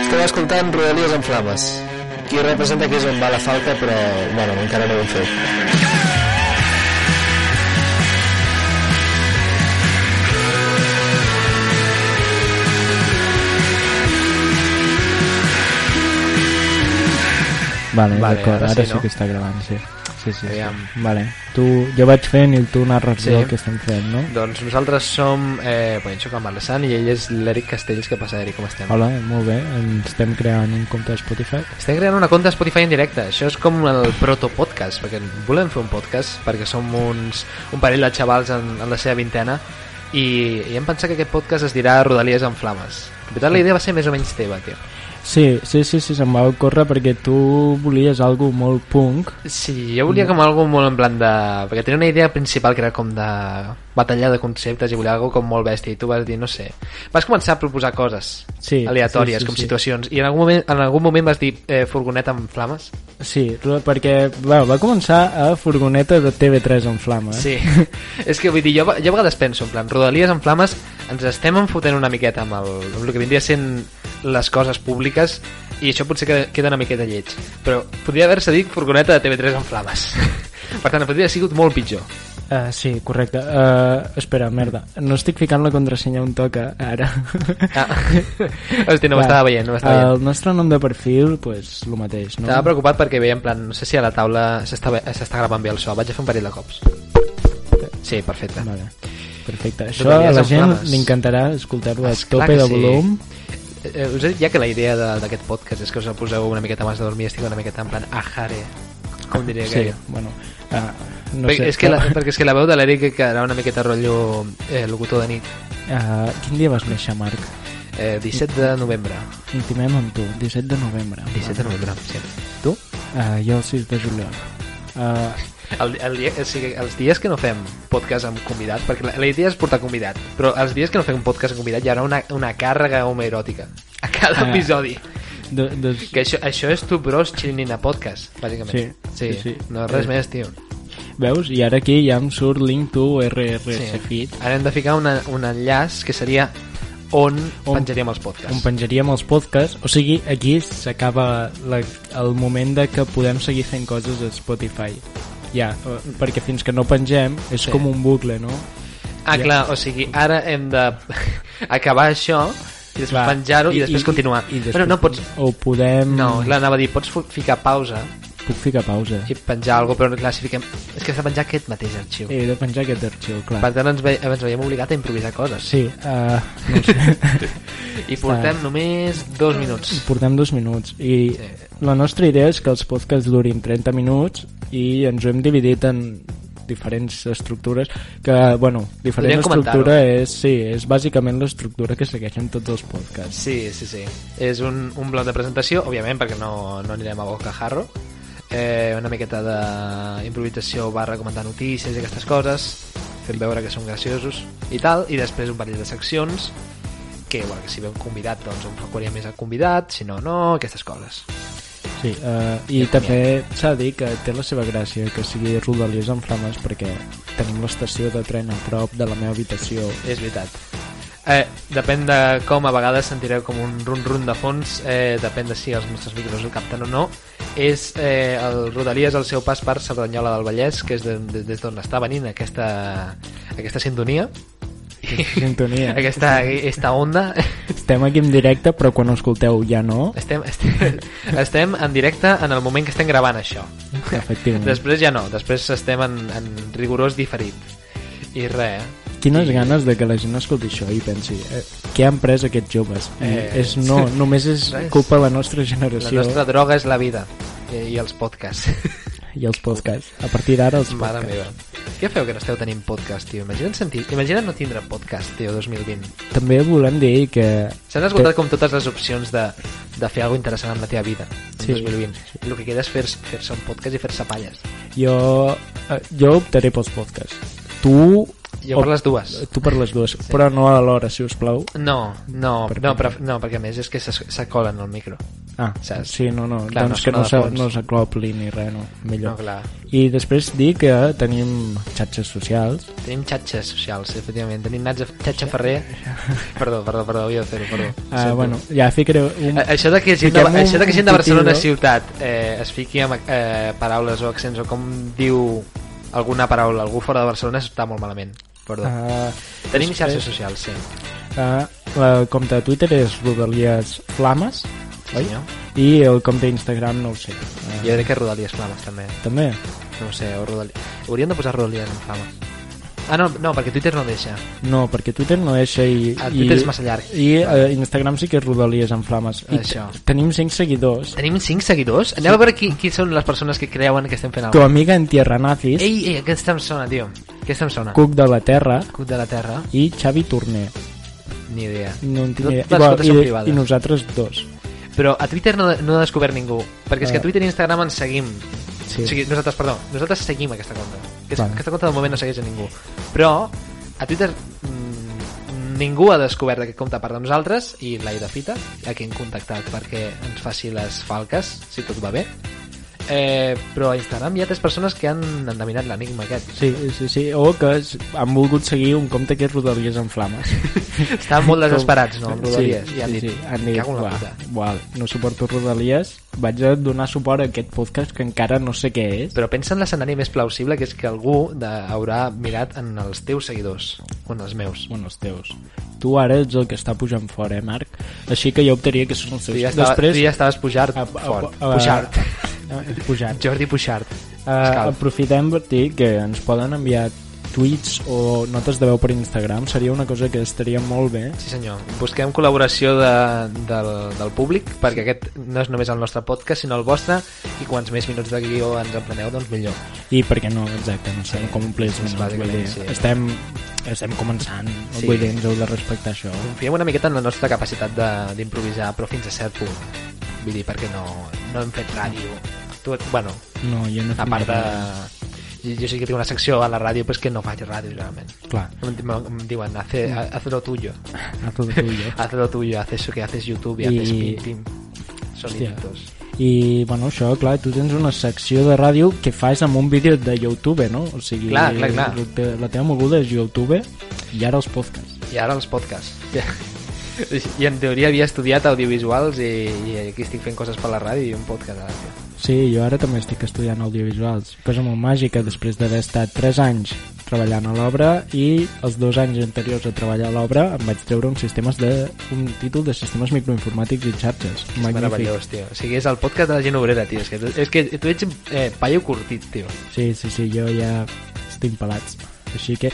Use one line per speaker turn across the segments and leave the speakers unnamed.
Esteu escoltant Rodalies en Flames. Qui representa que és on va la falca, però, bueno, encara no ho hem fet.
Vale,
Vale,
d'acord,
ara
ara,
sí,
sí,
no?
que està gravant, sí. Sí, sí,
Aviam.
sí. Vale. Tu, jo vaig fent i tu narres
Sí.
sí. el que estem fent, no?
Doncs nosaltres som eh, Pancho Camarlesan i ell és l'Eric Castells. Què passa, Eric? Com estem?
Hola, molt bé, ens estem creant un compte a Spotify.
Estem creant una conta a Spotify en directe. Això és com el protopodcast, perquè volem fer un podcast, perquè som uns, un parell de xavals en, en la seva vintena, i, i hem pensat que aquest podcast es dirà Rodalies en Flames. En veritat, la idea va ser més o menys teva, tio.
Sí, sí, sí, sí, se'm va ocórrer perquè tu volies algo molt punk.
Sí, jo volia com algo molt en plan de... Perquè tenia una idea principal que era com de batalla de conceptes i volia algo com molt bèstia i tu vas dir, no sé... Vas començar a proposar coses
Sí,
aleatòries,
sí, sí,
com
sí.
situacions i en algun moment, en algun moment vas dir eh, furgoneta amb flames
Sí, ro- perquè bueno, va començar a Furgoneta de TV3 en flama. Eh?
Sí, és que vull dir, jo, a- jo a vegades penso, en plan, Rodalies en Flames, ens estem enfotent una miqueta amb el, amb el que vindria sent les coses públiques i això potser que- queda una miqueta lleig, però podria haver-se dit furgoneta de TV3 en Flames. per tant, podria haver sigut molt pitjor.
Uh, sí, correcte. Uh, espera, merda. No estic ficant la contrasenya on toca, ara.
Ah. Hosti, no
Va,
m'estava veient, no m'estava veient.
El nostre nom de perfil, pues, el mateix, no?
Estava preocupat perquè veia, en plan, no sé si a la taula s'està ve- s'està gravant bé el so. Vaig a fer un parell de cops. Sí, perfecte.
Vale. Perfecte. Això
Rodalies
a la
en
gent
flames.
li encantarà escoltar-ho a
Esclar
tope
Ah, que
de
sí.
volum.
Eh, us he dit ja que la idea de- d'aquest podcast és que us el poseu una miqueta abans de dormir, estic una miqueta en plan ajare, com diria
Sí,
aquell.
bueno, ah, no
No perquè,
sé.
sé, és que la,
però-
perquè és que la veu de l'Eric que era una miqueta rotllo eh, locutor de nit.
Ah, quin dia vas néixer, Marc?
Eh, 17 de novembre.
Intimem amb tu, 17 de novembre.
17 de novembre, sí. Tu?
Ah, jo el 6 de juliol. Ah,
El, el dia, o sigui, els dies que no fem podcast amb convidat, perquè la, la idea és portar convidat, però els dies que no fem un podcast amb convidat hi haurà una, una càrrega homoeròtica a cada
Ah.
episodi.
do, dos,
Que això, això és tu, bros, chilling a podcast, bàsicament.
Sí, sí, sí.
No, res
Eh,
més, tio.
Veus? I ara aquí ja em surt link to RRS sí. feed
Ara hem de ficar una, un enllaç que seria on,
On-
penjaríem els podcasts.
on penjaríem els podcasts. O sigui, aquí s'acaba la- el moment de que podem seguir fent coses a Spotify. Ja, eh, perquè fins que no pengem és
Sí.
com un bucle, no?
Ah,
Ja.
clar, o sigui, ara hem de acabar això i després
Clar.
penjar-ho i, després continuar.
I, i després,
Bueno, no, pots...
O podem...
No, clar, anava a dir, pots fo- ficar pausa
Puc ficar pausa.
i penjar alguna cosa, però clar, si fiquem... És que s'ha de penjar aquest mateix arxiu.
Eh, He de penjar aquest arxiu, clar.
Per tant, ens, ve, ens veiem obligat a improvisar coses.
Sí, uh, no ho sé.
I portem només dos minuts.
Portem dos minuts i
Sí.
la nostra idea és que els podcasts durin 30 minuts i ens ho hem dividit en diferents estructures que, bueno, diferent
Podríem
estructura és, sí, és bàsicament l'estructura que segueixen tots els podcasts.
Sí, sí, sí. És un, un bloc de presentació, òbviament, perquè no, no anirem a bocajarro. Eh, una miqueta d'improvisació barra comentar notícies i aquestes coses, fent veure que són graciosos i tal, i després un parell de seccions que, bueno, que si ve un convidat, doncs un recollia més al convidat, si no, no, aquestes coses.
Sí, eh, I també s'ha de dir que té la seva gràcia que sigui Rodalies en Flames perquè tenim l'estació de tren a prop de la meva habitació.
És veritat. Eh, depèn de com, a vegades sentireu com un run-run de fons, eh, depèn de si els nostres micros ho capten o no. És eh, el Rodalies, el seu pas per Cerdanyola del Vallès, que és de, de, des d'on està venint aquesta, aquesta sintonia,
Sintonia.
aquesta, aquesta onda.
Estem aquí en directe, però quan ho escolteu ja no.
Estem, estem, estem en directe en el moment que estem gravant això.
Efectivament.
Després ja no, després estem en, en rigorós diferit. I res, eh?
Quines ganes de que la gent escolti això i pensi eh, què han pres aquests joves. Eh,
Eh,
és, no, només és
res.
culpa de la nostra
la
generació
nostra droga és la vida eh, i, i els podcasts.
i els podcasts. A partir d'ara els
Mare
podcasts.
meva. Què feu que no esteu tenint podcast, tio? Imagina't, sentir... Imagina't no tindre podcast, tio, 2020.
També volem dir que...
S'han esgotat com totes les opcions de, de fer alguna interessant amb la teva vida, en
Sí.
2020. El que queda és fer- fer-se fer un podcast i fer-se palles.
Jo, eh, jo optaré pels podcasts. tu...
Jo per les dues.
Tu per les dues, sí. però no a l'hora, si us plau.
No, no,
Per què?
no, però, no, perquè a més és que s'es- s'acolen al micro.
Ah,
Saps?
sí, no, no,
Clar,
clar,
no
doncs que
sona
no,
de
se-
fons.
no s'acopli ni res, no,
No,
millor. No,
clar.
I després dir que tenim xatxes socials,
Tenim xatxes socials, sí, efectivament. Tenim Natza Xatxa Ferrer. perdó, perdó, perdó, havia de fer-ho, perdó.
ah, bueno, ja ficaré un...
Eh, Això de que gent de,
Fiquem un
això de, que gent de
pitido.
Barcelona ciutat eh, es fiqui amb eh, paraules o accents o com diu alguna paraula algú fora de Barcelona està molt malament. Perdó. Ah,
Ah,
Tenim
després-
xarxes socials, sí.
ah, el compte de Twitter és Rodalies Flames,
sí
oi?
senyor.
I el compte d'Instagram no ho sé. Ah,
Jo crec que Rodalies Flames també.
També?
No ho sé, o Rodalies. Hauríem de posar Rodalies en fama. Ah, no, no, perquè Twitter no deixa.
No, perquè Twitter no deixa i...
Ah, Twitter
i-
és massa llarg.
I eh, Instagram sí que és Rodalies en Flames. I
Això.
t- tenim 5 seguidors.
Tenim 5 seguidors? Anem a veure qui, qui són les persones que creuen que estem fent
Tu
alguna
amiga en Tierra Nazis,
cosa. Ei, ei, aquesta em sona, tio. Aquesta em sona.
Cuc de la Terra
Cuc de la Terra.
i Xavi Torner.
Ni idea.
No en tinc
Tot-
idea.
les
Igual,
comptes són
i,
privades.
I nosaltres dos.
Però a Twitter no, no ha descobert ningú. Perquè és que
Ah.
a Twitter i Instagram ens seguim.
Sí.
O sigui, nosaltres, perdó, nosaltres seguim aquesta conta. Que és,
Vale.
Aquesta conta de moment no segueix a ningú. Però a Twitter mm, ningú ha descobert aquest compte a part de nosaltres i l'Aida Fita, a qui hem contactat perquè ens faci les falques, si tot va bé. Eh, però a Instagram hi ha tres persones que han endevinat l'enigma aquest.
Sí, sí, sí. O que es- han volgut seguir un compte que és Rodalies en Flames.
Estan molt desesperats, no? Amb Rodalies.
Sí,
I han
sí,
dit,
sí. Han dit
cago en la
"Uah,
puta.
uah, no suporto Rodalies, vaig a donar suport a aquest podcast que encara no sé què és.
Però pensa en l'escenari més plausible, que és que algú de, haurà mirat en els teus seguidors, o en els meus.
Bueno, els teus. Tu ara ets el que està pujant fort, eh, Marc? Així que jo optaria que són els
Tu
teus.
ja, estava, Després... tu ja estaves pujart
a- a-
fort.
a- a-
Pujart.
eh, Pujat.
Jordi Pujart.
Uh,
Escalf.
aprofitem per dir que ens poden enviar tuits o notes de veu per Instagram. Seria una cosa que estaria molt bé.
Sí senyor, busquem col·laboració de, del, del públic perquè aquest no és només el nostre podcast sinó el vostre i quants més minuts de guió ens empleneu doncs millor
I per què no, exacte, no sabem com omplir els
doncs
minuts. Vull dir,
bàsicament, sí.
estem, estem començant,
Sí.
sí. vull dir, ens heu de respectar això.
Confiem una miqueta en la nostra capacitat de- d'improvisar però fins a cert punt vull dir perquè no, no hem fet ràdio tu, bueno,
No, jo no he
a
fet
part de...
res.
Jo, jo sí que tinc una secció a la ràdio però és que no faig ràdio realment
Clar,
em, em, em diuen, hace, hace lo tuyo
a tot tu i jo.
Haz lo tuyo, haz eso que haces YouTube y,
Y-
haces pim pim. Soniditos.
I, bueno, això, clar, tu tens una secció de ràdio que fas amb un vídeo de YouTube, no? O sigui,
Clar, clar, clar.
La, te, la teva moguda és YouTube i ara els podcasts.
I ara els podcasts. I en teoria havia estudiat audiovisuals i, i aquí estic fent coses per la ràdio i un podcast a la ràdio.
Sí, jo ara també estic estudiant audiovisuals. Cosa molt màgica, després d'haver estat 3 anys treballant a l'obra i els dos anys anteriors a treballar a l'obra em vaig treure un, sistemes de, un títol de sistemes microinformàtics i xarxes.
És meravellós, tio. O sigui, és el podcast de la gent obrera, tio. És que tu, és que tu ets eh, paio curtit, tio.
Sí, sí, sí, jo ja estic pelats. Així que...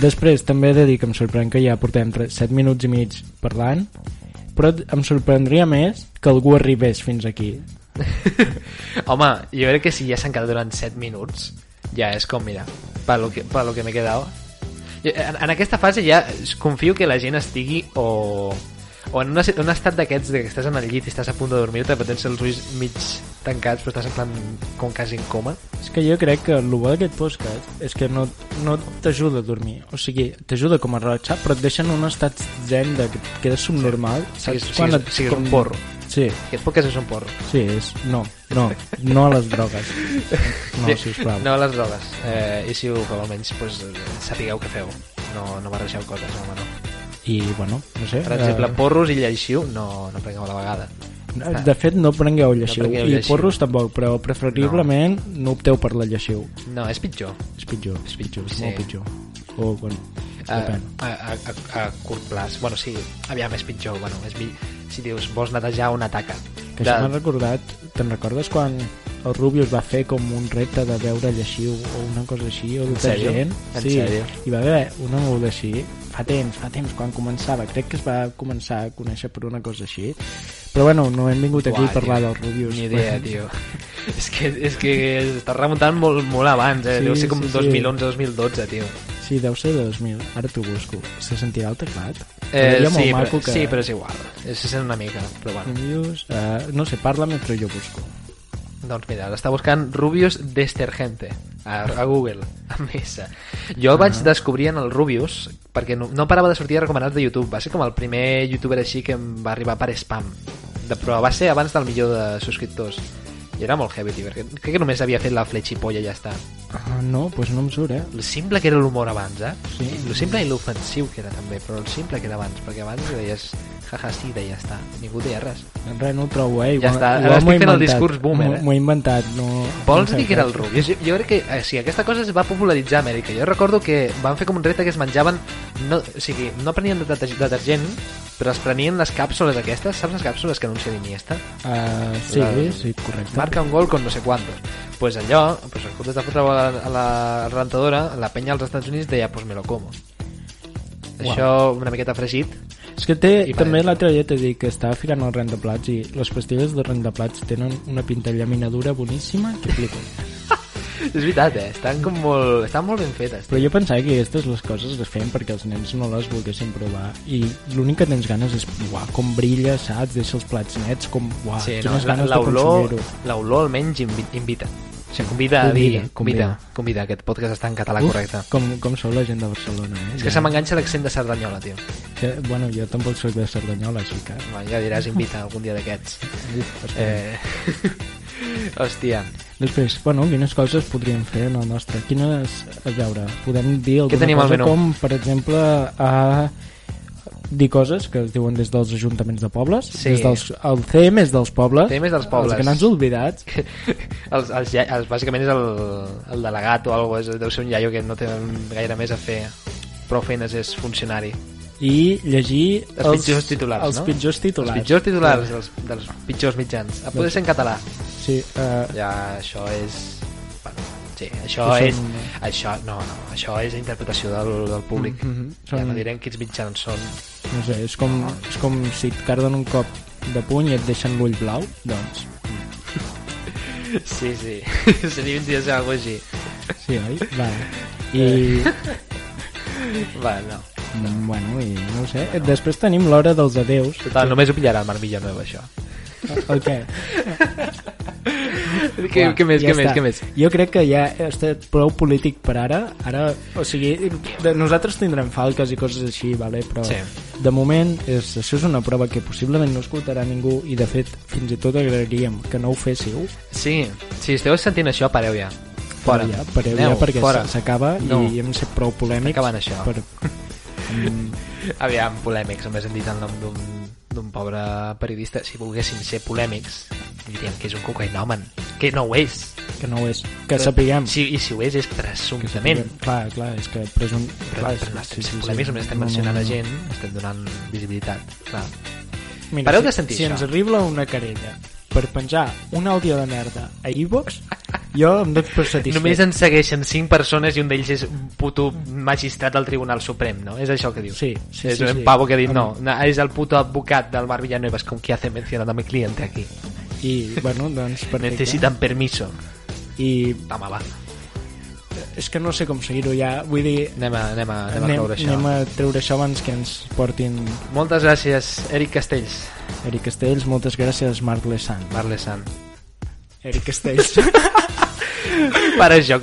Després també he de dir que em sorprèn que ja portem 7 minuts i mig parlant, però em sorprendria més que algú arribés fins aquí.
Home, jo crec que si ja s'han quedat durant 7 minuts, ja és com, mira, per lo que, per lo que m'he quedat. En, en aquesta fase ja es- confio que la gent estigui o, o en una, si- un estat d'aquests de que estàs en el llit i estàs a punt de dormir-te però tens els ulls mig tancats però estàs en plan com quasi en coma.
És que jo crec que el bo d'aquest podcast és que no, no t'ajuda a dormir. O sigui, t'ajuda com a relaxar, però et deixa en un estat zen de que et quedes subnormal.
Sigues, sigues, sigues un porro.
Sí,
Aquest podcast és un porro.
sí, és... No, no, no a les drogues. No, sisplau.
No a les drogues. Eh, I si ho feu almenys, doncs, eh, sapigueu què feu. No, no barregeu coses, home, no.
I, bueno, no sé...
Per exemple,
eh,
porros i lleixiu no, no prengueu a la vegada.
De fet, no prengueu lleixiu.
No prengueu
I
lleixiu.
porros tampoc, però preferiblement no, opteu per la lleixiu.
No, és pitjor.
És pitjor, és pitjor, és
Sí.
molt pitjor. O, bueno,
A,
depèn.
Eh, a, a, a, a curt plaç. Bueno, sí, aviam, és pitjor. Bueno, és mi... Si dius, vols netejar una taca.
Que això m'ha recordat... Te'n recordes quan el Rubius va fer com un repte de veure lleixiu o una cosa així, o
sèrio?
detergent?
En
Sí,
sèrio?
hi va haver una moguda així, fa temps, fa temps, quan començava. Crec que es va començar a conèixer per una cosa així. Però bueno, no hem vingut aquí
Uah,
a parlar
tio,
del Rubius.
Ni idea, tio. és que, és que està remuntant molt, molt abans, eh?
Sí,
Sí, Deu ser com
sí, sí.
sí, 2011, 2012, tio.
Sí, deu ser de 2000. Ara t'ho busco. Se sentirà el teclat?
Eh,
Seria molt
sí,
maco
però,
que-
sí, però és igual. És sent una mica, però bueno.
Rubius... eh, no sé, parla mentre jo busco.
Doncs mira, l'està buscant Rubius Destergente. a, a Google, a Mesa. Jo el vaig descobrir en el Rubius, perquè no, no parava de sortir recomanats de YouTube. Va ser com el primer youtuber així que em va arribar per spam. De, però va ser abans del milió de subscriptors. I era molt heavy, tio, perquè crec que només havia fet la fletxipolla i ja està.
Ah, no, doncs no em surt, eh?
El simple que era l'humor abans, eh?
Sí.
El simple i l'ofensiu que era també, però el simple que era abans, perquè abans deies jaja, sí, de ja està. Ningú deia res.
Res, no ho trobo, eh?
Ja
Igual-
està, ara
igual
estic
m'ho he
fent el
inventat.
discurs boomer,
M'ho-
eh?
M'ho he inventat, no...
Vols
no
dir
sé eh.
que era el
Doncs res.
Rubius? Jo, jo crec que eh, sí, aquesta cosa es va popularitzar a Amèrica. Jo recordo que van fer com un repte que es menjaven... No, o sigui, no prenien deter- detergent, però es prenien les càpsules aquestes. Saps les càpsules que anuncia Iniesta?
Ah, sí,
La-
sí, correcte.
Marca un gol con no sé quantos. Pues allò, pues en comptes de fotre a la, a la rentadora, la penya als Estats Units deia, pues me lo como. Això una miqueta fregit.
És que té,
I
I
per
també
dentro.
l'altre dia t'he dit que estava ficant el rentaplats i les pastilles de rentaplats tenen una pinta llaminadura boníssima que flipo.
És veritat, eh? Estan com molt... Estan molt ben fetes.
Però jo pensava que aquestes les coses les feien perquè els nens no les volguessin provar i l'únic que tens ganes és uah, com brilla, saps? Deixa els plats nets, com uah,
Sí, no,
quines
la-
ganes Ah, de
l'olor
consumir-ho.
l'olor almenys invi- invita. O sigui, convida, a dir,
Convida,
convida, convida,
convida.
aquest podcast està en català
Uf,
correcte.
Com, com sou la gent de Barcelona, eh?
És que se m'enganxa l'accent de Cerdanyola, tio.
que, bueno, jo tampoc sóc de Cerdanyola, així que...
Home, ja diràs invita algun dia d'aquests. Eh... Hòstia,
Després, bueno, quines coses podríem fer en el nostre? Quines, a veure, podem dir alguna
tenim al
cosa
menú?
com, per exemple, a dir coses que es diuen des dels ajuntaments de pobles,
Sí.
des dels, el CM és dels pobles,
CM és dels pobles.
els grans olvidats,
els, els, ja- els, bàsicament és el, el delegat o alguna cosa, deu ser un iaio que no té gaire més a fer prou feines és funcionari.
i llegir
Els pitjors titulars,
els
no?
pitjors titulars.
Els pitjors titulars dels, dels pitjors mitjans. A
Doncs
poder ser en català.
Sí, eh,
Ja, això és... Bueno, sí, això
Que són-
és... Això, no, no, això és interpretació del, del públic.
Mhm, mhm,
Ja
són-
no direm quins mitjans són.
no sé, és com, és com si et carden un cop de puny i et deixen l'ull blau, doncs,
Sí, sí, seria un dia ser alguna així.
sí, oi? Va. I,
Va, no.
Mm, Bueno, i no ho sé. Després tenim l'hora dels adeus.
Total, només ho pillarà el Marc Villanueva, això.
El què?
Què, què més, què més, què més?
Jo crec que ja he estat prou polític per ara. Ara, o sigui, de, nosaltres tindrem falques i coses així, vale? però
Sí.
de moment és, això és una prova que possiblement no escoltarà ningú i de fet fins i tot agrairíem que no ho féssiu.
Sí, si esteu sentint això, pareu ja. Fora.
Ja, pareu ja
Aneu,
perquè
fora.
s- s'acaba
No.
i hem set prou polèmics.
Acabant això.
Per... Mm,
Aviam, polèmics, només hem dit el nom d'un d'un pobre periodista. Si volguéssim ser polèmics, diríem que és un cocainòman. Que no ho és.
que no ho és. Que sapiguem.
Si, I si ho és, és presumptament.
Clar, clar, és que presum...
Però,
clar,
però no,
sí, sí, sí.
polèmics només estem
No, no,
mencionant
no.
a gent, estem donant visibilitat. Clar.
Mira,
Pareu
si-
de sentir
si
això.
ens arriba una querella per penjar un àudio de merda a iVox, jo em dono per satisfet.
Només ens segueixen 5 persones i un d'ells és un puto magistrat del Tribunal Suprem, no? És això que diu.
Sí, sí,
és
sí,
un
sí.
pavo que ha dit,
Amb-
no, no, és el puto advocat del Mar Villanueva, és com que hace mencionado a mi cliente aquí.
I, bueno, doncs, perfecte.
Necesitan permiso.
I
Toma, va.
és que no sé com seguir-ho ja. Vull dir,
Anem a, anem a, anem a
anem,
cloure això.
anem a treure això abans que ens portin
Moltes gràcies, Eric Castells,
Eric Castells. Moltes gràcies, Marc Lesant.
Marlesan,
Eric Castells.
per això